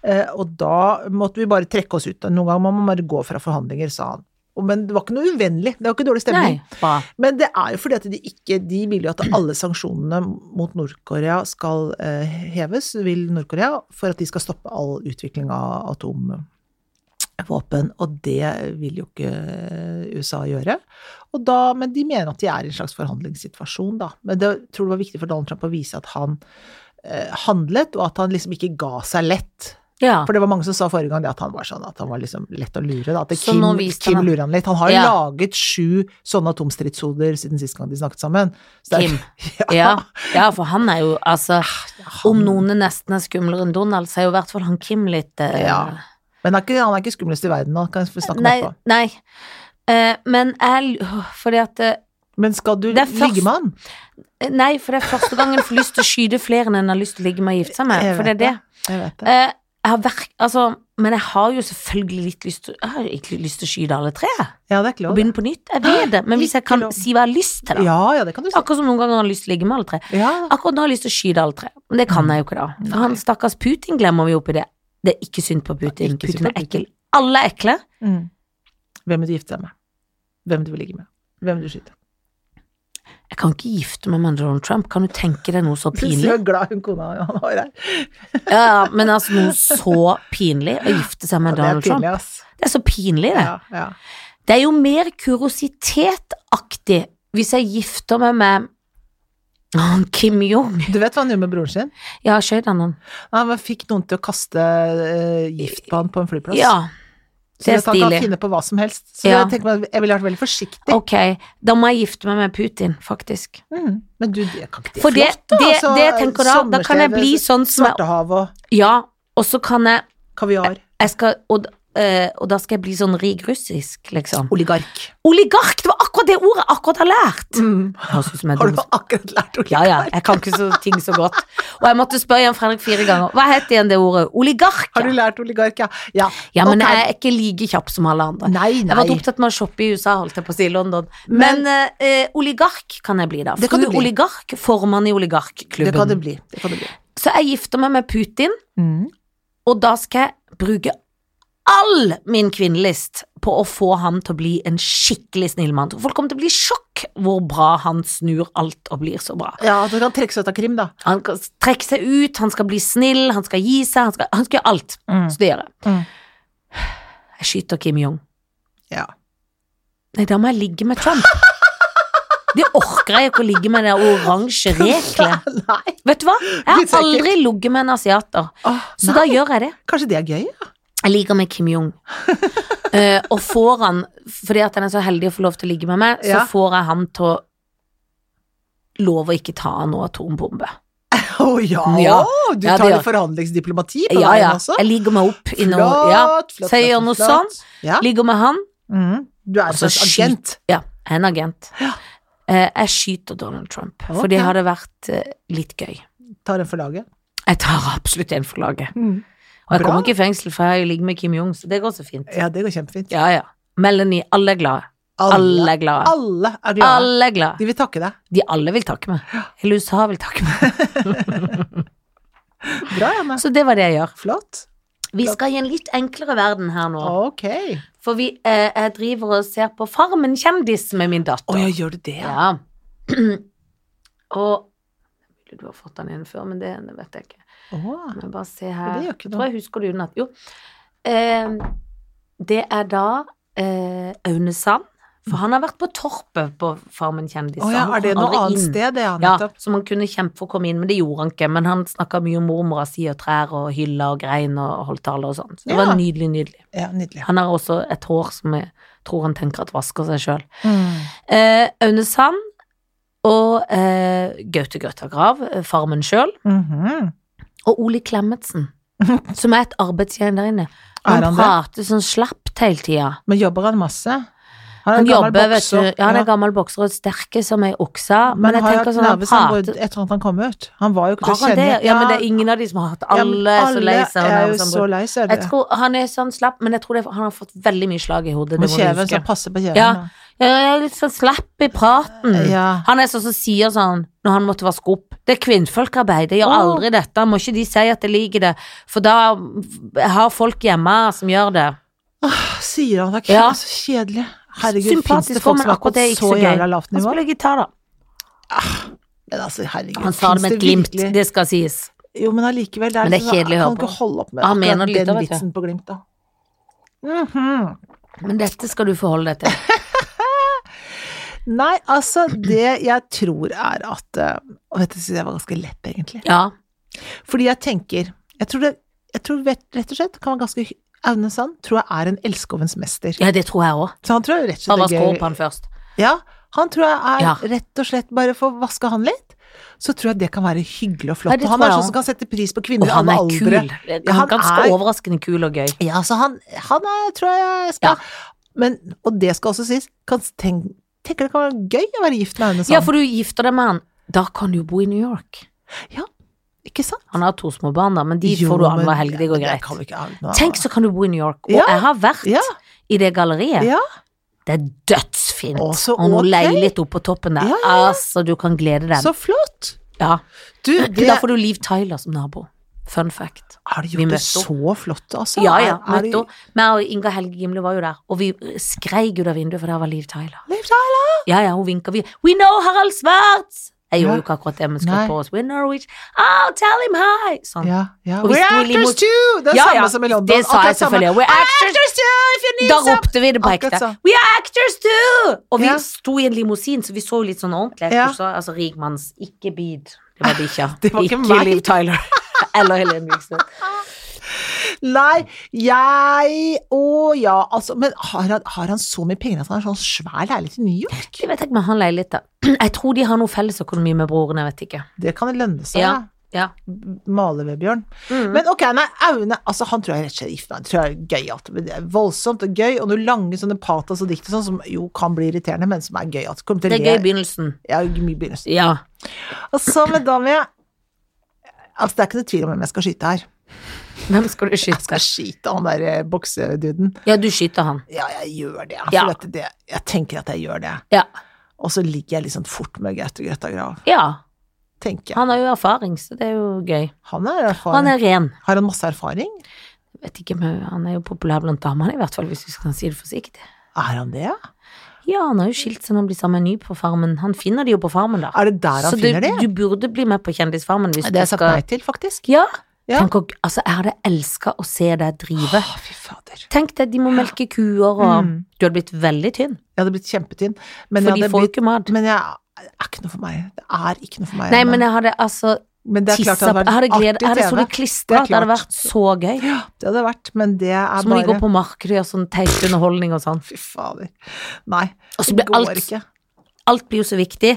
Eh, og da måtte vi bare trekke oss ut. Noen ganger må man bare gå fra forhandlinger, sa han. Og- Men det var ikke noe uvennlig. Det var ikke dårlig stemning. Nei, bra. Men det er jo fordi at de ikke De vil jo at alle sanksjonene mot Nord-Korea skal eh, heves, vil Nord-Korea, for at de skal stoppe all utvikling av atomvåpen. Og det vil jo ikke eh, USA gjøre. Og da, men de mener at de er i en slags forhandlingssituasjon, da. Men det jeg tror det var viktig for Donald Trump å vise at han eh, handlet, og at han liksom ikke ga seg lett. Ja. For det var mange som sa forrige gang det at han var sånn at han var liksom lett å lure. Da. At det Så Kim, nå viste Kim han- lurer han litt. Han har jo Ja. laget sju sånne atomstridshoder siden sist gang de snakket sammen. Så det er- Kim. Ja. ja, for han er jo altså Om noen er nesten er skumlere enn Donald, så er jo i hvert fall han Kim litt eh, Ja. Men han er ikke, han er ikke skumlest i verden, da. Kan vi snakke om Nei. etterpå. nei. Eh, men jeg øh, Fordi at eh, Men skal du Det er først- ligge med han? Nei, for det er første gang en får lyst til å skyte flere enn en har lyst til å ligge med og gifte seg med. Jeg For det vet er det. Jeg vet det. Eh, jeg har verk, altså, men jeg har jo selvfølgelig litt lyst til Jeg har egentlig lyst til å skyte alle tre. Ja, det er ikke Og lov. det. begynne på nytt. Jeg vet det, men hvis jeg Ikke kan lov. si hva jeg har lyst til, da. Ja, ja, det kan du si. Akkurat som noen ganger har jeg lyst til å ligge med alle tre. Ja. Akkurat nå har jeg lyst til å skyte alle tre, men det kan jeg jo ikke da. Mm. For han stakkars Putin glemmer vi oppi det. Det er ikke synd Det på er Putin. ikke synd Putin på er Putin. ekkel. Alle er ekle. Mm. Hvem vil du gifte deg med? Hvem du vil ligge med? Hvem du skyter? Jeg kan ikke gifte meg med Donald Trump. Kan du tenke deg noe så Syns du pinlig? er glad hun kona han har her? Ja, ja, men altså noe så pinlig å gifte seg Ja, med det er Donald Trump. pinlig, ass. Det er så pinlig, det. Ja, ja. Det er jo mer kuriositetaktig hvis jeg gifter meg med han Kim Jong. Du vet hva han gjorde med broren sin? Ja, skjøt han han? Han fikk noen til å kaste eh, gift på han på en flyplass. Ja, Så Det er at han stilig. kan finne på hva som helst. Så Ja. jeg tenker meg, at jeg ville vært veldig forsiktig. ok. Da må jeg gifte meg med Putin, faktisk. Mm. Men du, det kan ikke det For det, flott, da? det, det, altså, jeg tenker da, da kan jeg sommersted, bli sånn som jeg Svartehav og Ja, og så kan jeg, kaviar. jeg skal, og, eh, og da skal jeg bli sånn rik russisk, liksom. Oligark. Oligark! Det var akkurat det ordet jeg akkurat har lært! Mm. Høres ut som jeg er Har du dum. akkurat lært Ja, oligark? ja, jeg kan ikke så ting så godt. Og jeg måtte spørre Jan Fredrik fire ganger. Hva het igjen det ordet? Oligark? Har du lært oligark, ja? Ja, Ja, men Ok. jeg er ikke like kjapp som alle andre. Nei, Jeg nei. var opptatt med å shoppe i USA, holdt jeg på å si, London. Men, Men- eh, eh, oligark kan jeg bli, da. Det kan du Frue bli. oligark, formann i Det kan det oligarkklubben. bli. Det kan det bli. Så jeg gifter meg med Putin, Mm. og da skal jeg bruke all min kvinnelist på å få han til å bli en skikkelig snill mann. Folk kommer til å bli i sjokk hvor bra han snur alt og blir så bra. Ja, at du kan trekke seg ut av krim, da. Han skal trekke seg ut, han skal bli snill, han skal gi seg, han skal, han skal gjøre alt. Så det gjør jeg. Mm. Jeg skyter Kim Jong. Ja. Nei, da må jeg ligge med Trump. Det orker jeg ikke å ligge med det oransje rekelet. Nei. Vet du hva? Jeg Litt har ekkelt. aldri ligget med en asiater, Åh, så nei. da gjør jeg det. Kanskje det er gøy? Ja. Jeg ligger med Kim Jong. Eh, og får han, fordi at han er så heldig å få lov til å ligge med meg, så Ja. får jeg han til å love å ikke ta av noe atombombe. Å ja. Ja. Du Ja, det tar gjør- litt forhandlingsdiplomati på Ja, ja. veien også? Jeg ligger meg opp i noe ja. Så jeg gjør noe Ja. Ligger med han. Mm. Du er Og en så slags agent. Altså, Ja, jeg er en agent. Ja. Eh, Jeg skyter Donald Trump, for Ok. det hadde vært eh, litt gøy. Tar en for laget. Jeg tar absolutt en for laget. Mm. Og jeg Bra. kommer ikke i fengsel, for jeg ligger med Kim Jong, så det går så fint. Ja, det går kjempefint. Ja, ja. Melanie, alle er glade. Alle Alle, er glade. alle er glade. Alle er glade. De vil takke deg. De alle vil takke meg. Hele USA vil takke meg. Bra, Janne. Så det var det jeg gjør. Flott. Vi skal i en litt enklere verden her nå. Ok. For vi, eh, jeg driver og ser på Farmen kjendis med min datter. Å ja, gjør du det? ja? Ja. Og Mulig du har fått den inn før, men det, det vet jeg ikke. Å. Men bare se her. Det gjør ikke Jeg tror jeg husker det utenat. Jo. Eh, det er da eh, Aune Sand. For han har vært på Torpet på Farmen kjendis. Å ja, Han er det kom noe aldri annet inn. sted? Det, ja, Ja, nettopp. som han kunne kjempe for å komme inn, men det gjorde han ikke. Men han snakka mye om mormora si og trær og hyller og grein og holdt taler og sånn. Så det Ja. var nydelig, nydelig. Ja, nydelig. Han har også et hår som jeg tror han tenker at vasker seg sjøl. Mm. Eh, Aune Sand og eh, Gaute Grøtta Grav, eh, Farmen sjøl, Mhm. og Ole Klemetsen, som er et arbeidsgjeng der inne. Er Han han det? prater sånn slapt hele tida. Men jobber han masse? er en Han gammel jobber, vet du. bokser. Ja, han Ja. er gammel bokser og sterke som ei okse, Men men, jeg har jeg tenker hatt sånn han nerve prater etter at han kom ut? Han var jo ikke Har til å han det? kjenne Ja, men det er ingen av de som har hatt Alle er så Alle er lei seg. og jo nærmest så sånn- lei seg. Jeg tror han er sånn slapp, men jeg tror det, er- han har fått veldig mye slag i hodet. Det Med må du kjeven, så huske. passe på kjeven. Ja. da. Ja, Jeg er litt sånn slapp i praten. Ja. Han er sånn som sier sånn når han måtte vaske opp Det er kvinnfolkarbeid, jeg gjør Åh. aldri dette. Må ikke de si at jeg liker det, for da har folk hjemme som gjør det. Sier han det er Ja. ja. så kjedelig. Herregud, fins Sympatisk det for, folk men som har akkurat gått det er ikke så så gøy. jævla lavt Han nivå? spiller gitar, da. Men altså, herregud, Han sa det med finnes et glimt, virkelig- det skal sies. Jo, men allikevel, det er, Men det er sånn, kjedelig å høre Kan ikke på. holde opp med Han mener akkurat litt av, den vet du. vitsen på Glimt, da. Mhm. Men dette skal du forholde deg til. Nei, altså, det jeg tror er at eh, Og dette synes jeg var ganske lett, egentlig. Ja. Fordi jeg tenker Jeg tror, det, jeg tror vet, rett og slett kan være ganske hy- Aune Sand tror jeg er en elskovens mester. ja, det tror jeg òg. Så han tror jeg rett og Bare slett vask er opp gøy. han først. Ja, han tror jeg er Ja. rett og slett Bare for å vaske han litt, så tror jeg det kan være hyggelig og Ja, flott. det og han tror er jeg sånn også. som kan sette pris på Og kvinner i han alle er aldre. kul. Ja, han Ganske er- Sånn. overraskende kul og gøy. Ja, så han, han er, tror jeg skal Men, og det skal også sies, kan tenk, tenker det kan være gøy å være gift med sånn. Aune Sand. Ja, for du gifter deg med han. Da kan du jo bo i New York. Ikke sant? Han har to små barn, da, men de Jo, får du men- annenhver helg. Det går ja, greit. kan vi ikke ha noe Tenk, så kan du bo i New York. Og Ja. jeg har vært Ja. i det galleriet. Ja. Det er dødsfint. Å, så Og noe ok. leilighet oppe på toppen der. Ja, Altså, du kan glede deg. Så flott! ja. Du, det Da får du Liv Tyler som nabo. Fun fact. Har de Vi gjort det møtte så flott, altså? Ja, ja. Er- er de- Møtte henne. Meg og Inga Helge Gimle var jo der, og vi skreik ut av vinduet, for der var Liv Tyler. Liv Tyler! Ja, ja, hun vinka. Vi We know Harald Svarts! Jeg Ja. gjorde jo ikke akkurat det, men skrev Nei. på oss. We're Norwich. Oh, tell him hi! Sånn. Ja, ja. Og vi We're sto i limo- actors too! Det er Ja, samme ja, som i London. det sa jeg akkurat samme. selvfølgelig. We're actors Actors too, if you need Da some. ropte vi det på Akkurat ekte. sånn. We are actors too! Og vi Ja. sto i en limousin, så vi så jo litt sånn ordentlig. Ja. Ja. Så, altså rikmanns, ikke bid. Det var bikkja. Det var ikke meg. Liv Tyler. Eller Helene Miksen. Nei, jeg Å ja, altså. Men har han, har han så mye penger at han har sånn svær leilighet i New York? Jeg vet ikke, men han leiligheten. Jeg tror de har noe fellesøkonomi med broren, jeg vet ikke. Det kan lønne seg. Ja. Ja. Male ved bjørn. Mm. Men ok, nei, Aune altså han tror jeg rett og slett er gift med. Han tror jeg er gøyalt. men det er Voldsomt og gøy, og noen lange sånne patos og dikt og sånn, som jo kan bli irriterende, men som er gøy. At kommer til det å er gøy i le. begynnelsen. Ja, mye begynnelse. Ja. Og så med da med Altså, det er ikke noe tvil om hvem jeg skal skyte her. Hvem skal Jeg du skal skyte? skyte han der eh, bokseduden. Ja, du skyter han. Ja, jeg gjør det. Ja. For at det, jeg tenker at jeg gjør det. Ja. Og så ligger jeg litt sånn fort med Gaute Grøtta Grav, ja. tenker jeg. Han har jo erfaring, så det er jo gøy. Han er erfaren. Han er ren. Har han masse erfaring? Jeg vet ikke, men han er jo populær blant damene, i hvert fall, hvis vi skal si det forsiktig. Er han det? Ja, han har jo skilt seg når han blir sammen med en ny på farmen. Han finner de jo på farmen, da. Er det der han så finner du, det? du burde bli med på Kjendisfarmen hvis det har du jeg sagt skal nei til, faktisk. Ja. Ja. Tenk, å- altså, jeg hadde elska å se deg drive. Å, fy fader. Tenk deg, de må melke kuer og Mm. Du hadde blitt veldig tynn, Jeg hadde blitt kjempetynn. Men, for jeg de hadde får jo blitt, ikke mat. men jeg det er ikke noe for meg. Det er ikke noe for meg. Nei, Anne. men jeg hadde altså Men det er klart det tissa på hadde Jeg hadde vært gledet Jeg hadde artig så det TV. klistra at det hadde klart. vært så gøy. Det hadde vært, men det er Så må de bare gå på markedet og gjøre sånn teit underholdning og sånn. Fy fader. Nei, Og så det blir går alt ikke. alt blir jo så viktig.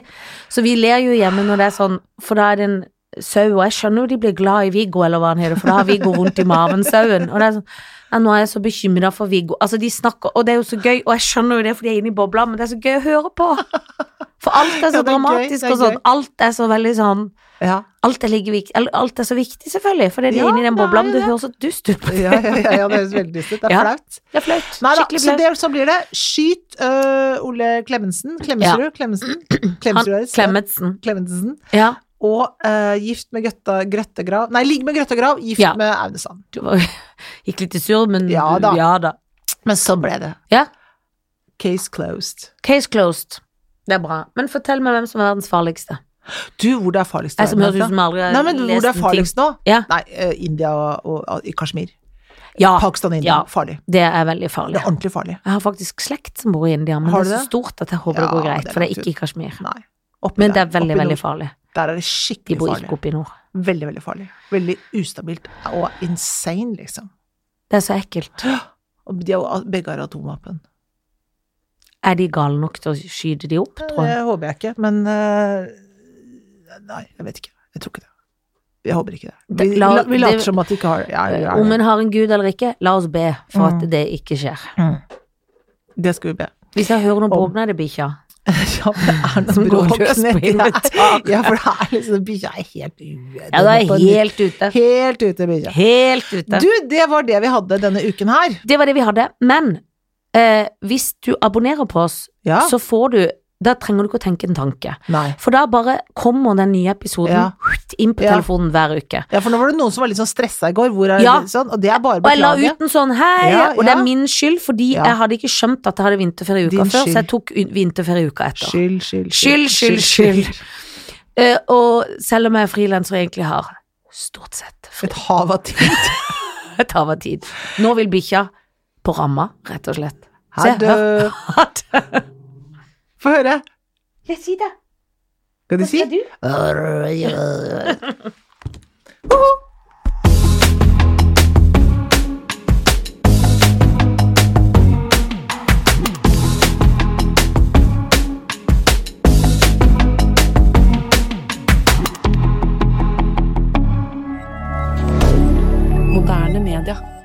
Så vi ler jo hjemme når det er sånn, for da er det en sau, og jeg skjønner jo de blir glad i Viggo, eller hva han heter, for da har Viggo vondt i maven, sauen. Og det er sånn, ja, nå er jeg så bekymra for Viggo. Altså, de snakker, og det er jo så gøy, og jeg skjønner jo det, for de er inne i bobla, men det er så gøy å høre på. For alt Ja, er så det er gøy, dramatisk det er og sånn. gøy. Alt er så veldig sånn Ja, Alt er, like viktig, eller alt er så viktig, selvfølgelig, fordi de Ja, er inne i den det er bobla, jo men du det. høres så dust ut. ja, ja, ja, ja det høres veldig lyst ut. Det er Ja. flaut. Det er flaut. Nei da, Skikkelig så, flaut. det, så blir det skyt øh, Ole Klemetsen. Klemetsrud? Klemetsen? Klemetsrud er Han, det stedet. Klemetsen. Klemetsen. Ja. Og øh, gift med Gøtta, Grøttegrav Nei, ligg med Grøttegrav, gift Ja. med Aune Sand. Du var, gikk litt i surr, men Ja da. ja da. Men så ble det. Ja. Case closed. Case closed. Det er bra. Men fortell meg hvem som er verdens farligste. Du, hvor det er farligst? Jeg som høres ut Agnete? som aldri har Nei, men hvor det lest er en eh, ting. farligst nå? Ja. Nei, eh, India og, og, og i Kashmir. Ja, Pakistan og India. Ja. Farlig. det er veldig Det farlig. er ordentlig farlig. Jeg har faktisk slekt som bor i India, men Har det du er så det? stort at jeg håper det Ja, går greit, det er for det er nok ikke i Kashmir. Nei. Oppi Men det der, er veldig, oppi veldig nord. farlig. Der er det De skikkelig bor farlig. ikke oppe i nord. Veldig, veldig farlig. Veldig ustabilt og insane, liksom. Det er så ekkelt. Og de har, begge har atomvåpen. Er de gale nok til å skyte de opp, Det tror jeg? håper jeg ikke, men eh, Nei, jeg vet ikke. Jeg tror ikke det. Jeg håper ikke det. Vi, Det- la- la- vi later det- Eh, som at de ikke har ja, ja, Om ja. en har en gud eller ikke, la oss be for at Mm. det ikke skjer. Det skal vi be. Hvis jeg hører noe Om- bråkne, er det bikkja. Ja, men det er Som noe går bråk løs på nedi der. inventaret. Ja, for det er liksom Bikkja er helt uenig. Ja, da er jeg helt ute. Helt ute, bikkja. Helt ute. Du, det var det vi hadde denne uken her. Det var det vi hadde. Men eh, hvis du abonnerer på oss, Ja. så får du Da trenger du ikke å tenke en tanke. Nei. For da bare kommer den nye episoden Ja. inn på Ja. telefonen hver uke. Ja, for nå var det noen som var litt sånn stressa i går, hvor er Ja. det sånn, og det er bare Og jeg la beklage. ut en sånn hei, Ja, og det er ja. min skyld, fordi Ja. jeg hadde ikke skjønt at jeg hadde vinterferie uka Din før, skyld. så jeg tok u- vinterferie uka etter. Skyld, skyld, Skyld, skyld, skyld. Eh, og selv om jeg er frilanser og egentlig har stort sett fri, Et hav av ting. det tar meg tid. Nå vil bikkja på ramma, rett og slett. Ha jeg det. hører- Ha det. Få høre. Jeg sier det. Skal de si? du? Moderne media.